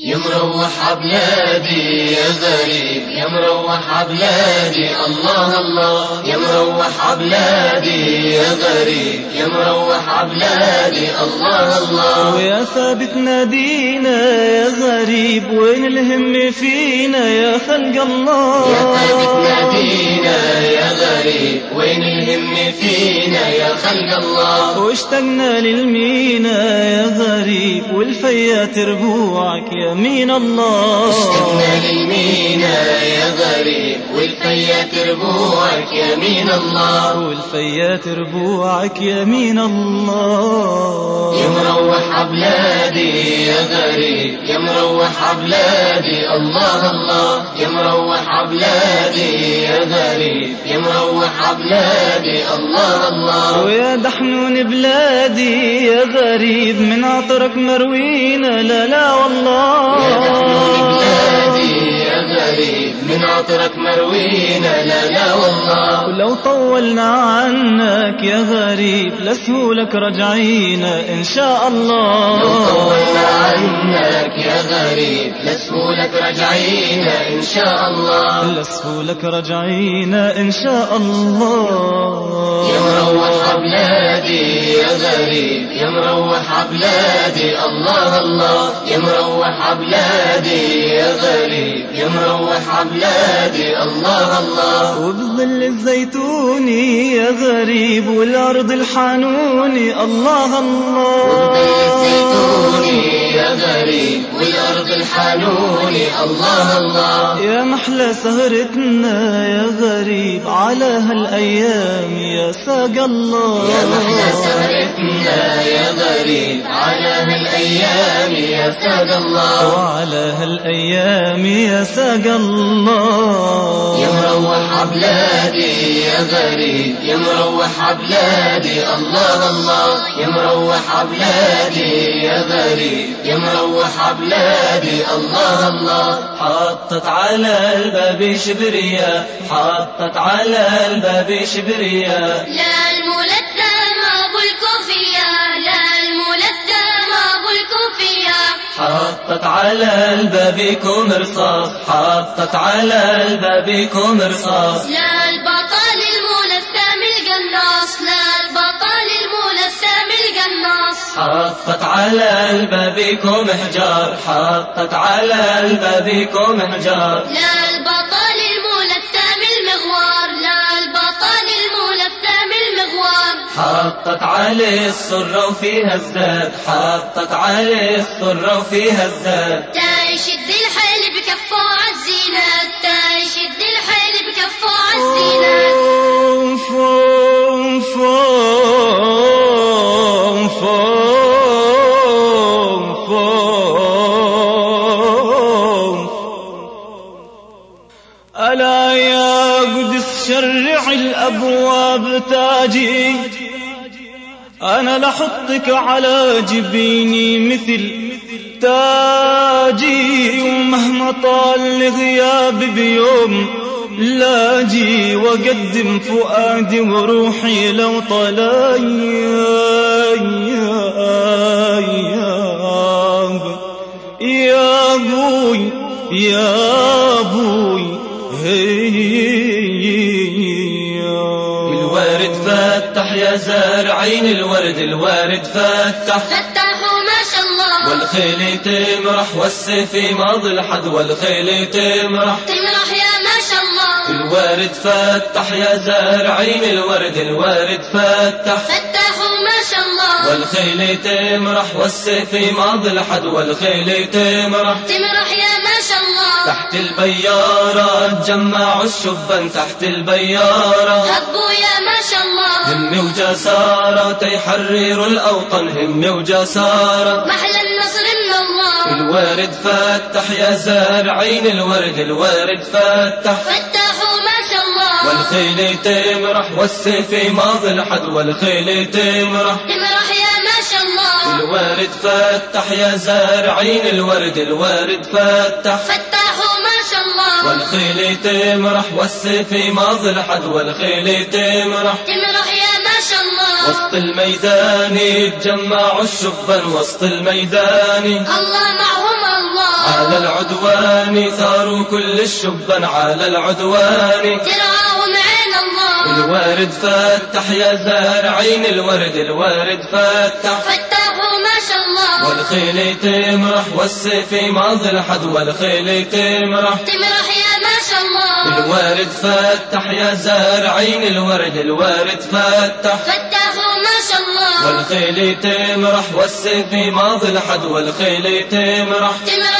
يا مروح عبلادي يا غريب يا مروح عبلادي الله الله يا مروح عبلادي يا غريب يا مروح عبلادي الله الله ويا ثابت نادينا يا غريب وين الهم فينا يا خلق الله يا ثابت نادينا يا غريب وين الهم فينا يا خلق الله واشتقنا للمينا يا غريب والفيات ربوعك يا مين الله اشتقنا للمينا يا غريب والفيات ربوعك يا مين الله والفيات ربوعك يا مين الله يا مروح عبلادي يا غريب يا مروح عبلادي الله الله يا مروح عبلادي يا غريب يا مروح عبلادي الله الله ويا دحنون بلادي يا غريب من عطرك مروينا لا لا والله يا دحنون بلادي يا غريب من عطرك مروينا لا لا والله ولو طولنا عنك يا غريب لسهولك رجعينا ان شاء الله لو طولنا عنك يا غريب لسهولك رجعينا ان شاء الله لسهولك رجعينا ان شاء الله يا مروح عبلادي يا غريب يا مروح عبلادي الله الله يا مروح عبلادي يا غريب يا مروح عبلادي الله الله وبظل الزيتوني يا غريب والارض الحنوني الله الله زيتوني يا غريب والارض الحنوني الله الله يا محلى سهرتنا يا غريب على هالايام يا ساق الله يا محلى سهرتنا يا غريب على هالايام يا ساق الله وعلى هالايام يا ساق الله يا مروح عبلادي يا غريب يا مروح عبلادي الله الله يا مروح عبلادي يا غريب يا مروح عبلادي الله الله حطت على الباب شبرية حطت على الباب شبرية لا الملثم أبو الكوفية لا الملثم أبو الكوفية حطت على البابكم رصاص حطت على البابكم رصاص لا البطل الملثم القناص لا البطل الملثم القناص حطت على البابكم حجار حطت على البابكم حجار لا البطل الملثم المغوار لا البطل الملثم المغوار حطت عليه السرة وفيها الزاد حطت عليه السرة وفيها الزاد تشد الحيل بكفه عالزينات تشد الحيل بكفه عالزينات ألا يا قدس شرع الأبواب تاجي أنا لحطك على جبيني مثل تاجي ومهما طال غيابي بيوم لا أجي وأقدم فؤادي وروحي لو طلاياب يا ابوي يا ابوي هي الورد فتح يا زارعين الورد الوارد فتح فتحوا ما شاء الله والخيل تمرح والسيف ماض الحد والخيل تمرح تمرح يا ما شاء الله الوارد فتح يا زارعين الورد الوارد فتح فتحوا ما شاء الله والخيل تمرح والسيف ماض الحد والخيل تمرح تمرح يا ما شاء الله تحت البيارة جمعوا الشبان تحت البيارة هبوا يا ما شاء الله همي وجسارة تيحرروا الأوطان همي وجسارة محلى النصر من الله الوارد فتح يا زارعين الورد الوارد فتح فتحوا ما شاء الله والخيل تمرح والسيف ماض الحد والخيل تمرح تمرح يا ما شاء الله الوارد فتح يا زارعين الورد الوارد فتح فتحوا ما شاء الله والخيل تمرح والسيف ماض الحد والخيل تمرح تمرح يا ما شاء الله وسط الميدان يتجمعوا الشبان وسط الميدان الله معهم الله على العدوان ثاروا كل الشبان على العدوان درعاهم عين الله الوارد فتح يا زارعين الورد الوارد فتح فتحوا ما شاء الله والخيل تمرح والسيف ماضي الحد والخيل تمرح تمرح يا ما شاء الله الوارد فتح يا زارعين الورد الوارد فتح فتحوا ما شاء الله والخيل تمرح والسيف ماضي الحد والخيل تمرح تمرح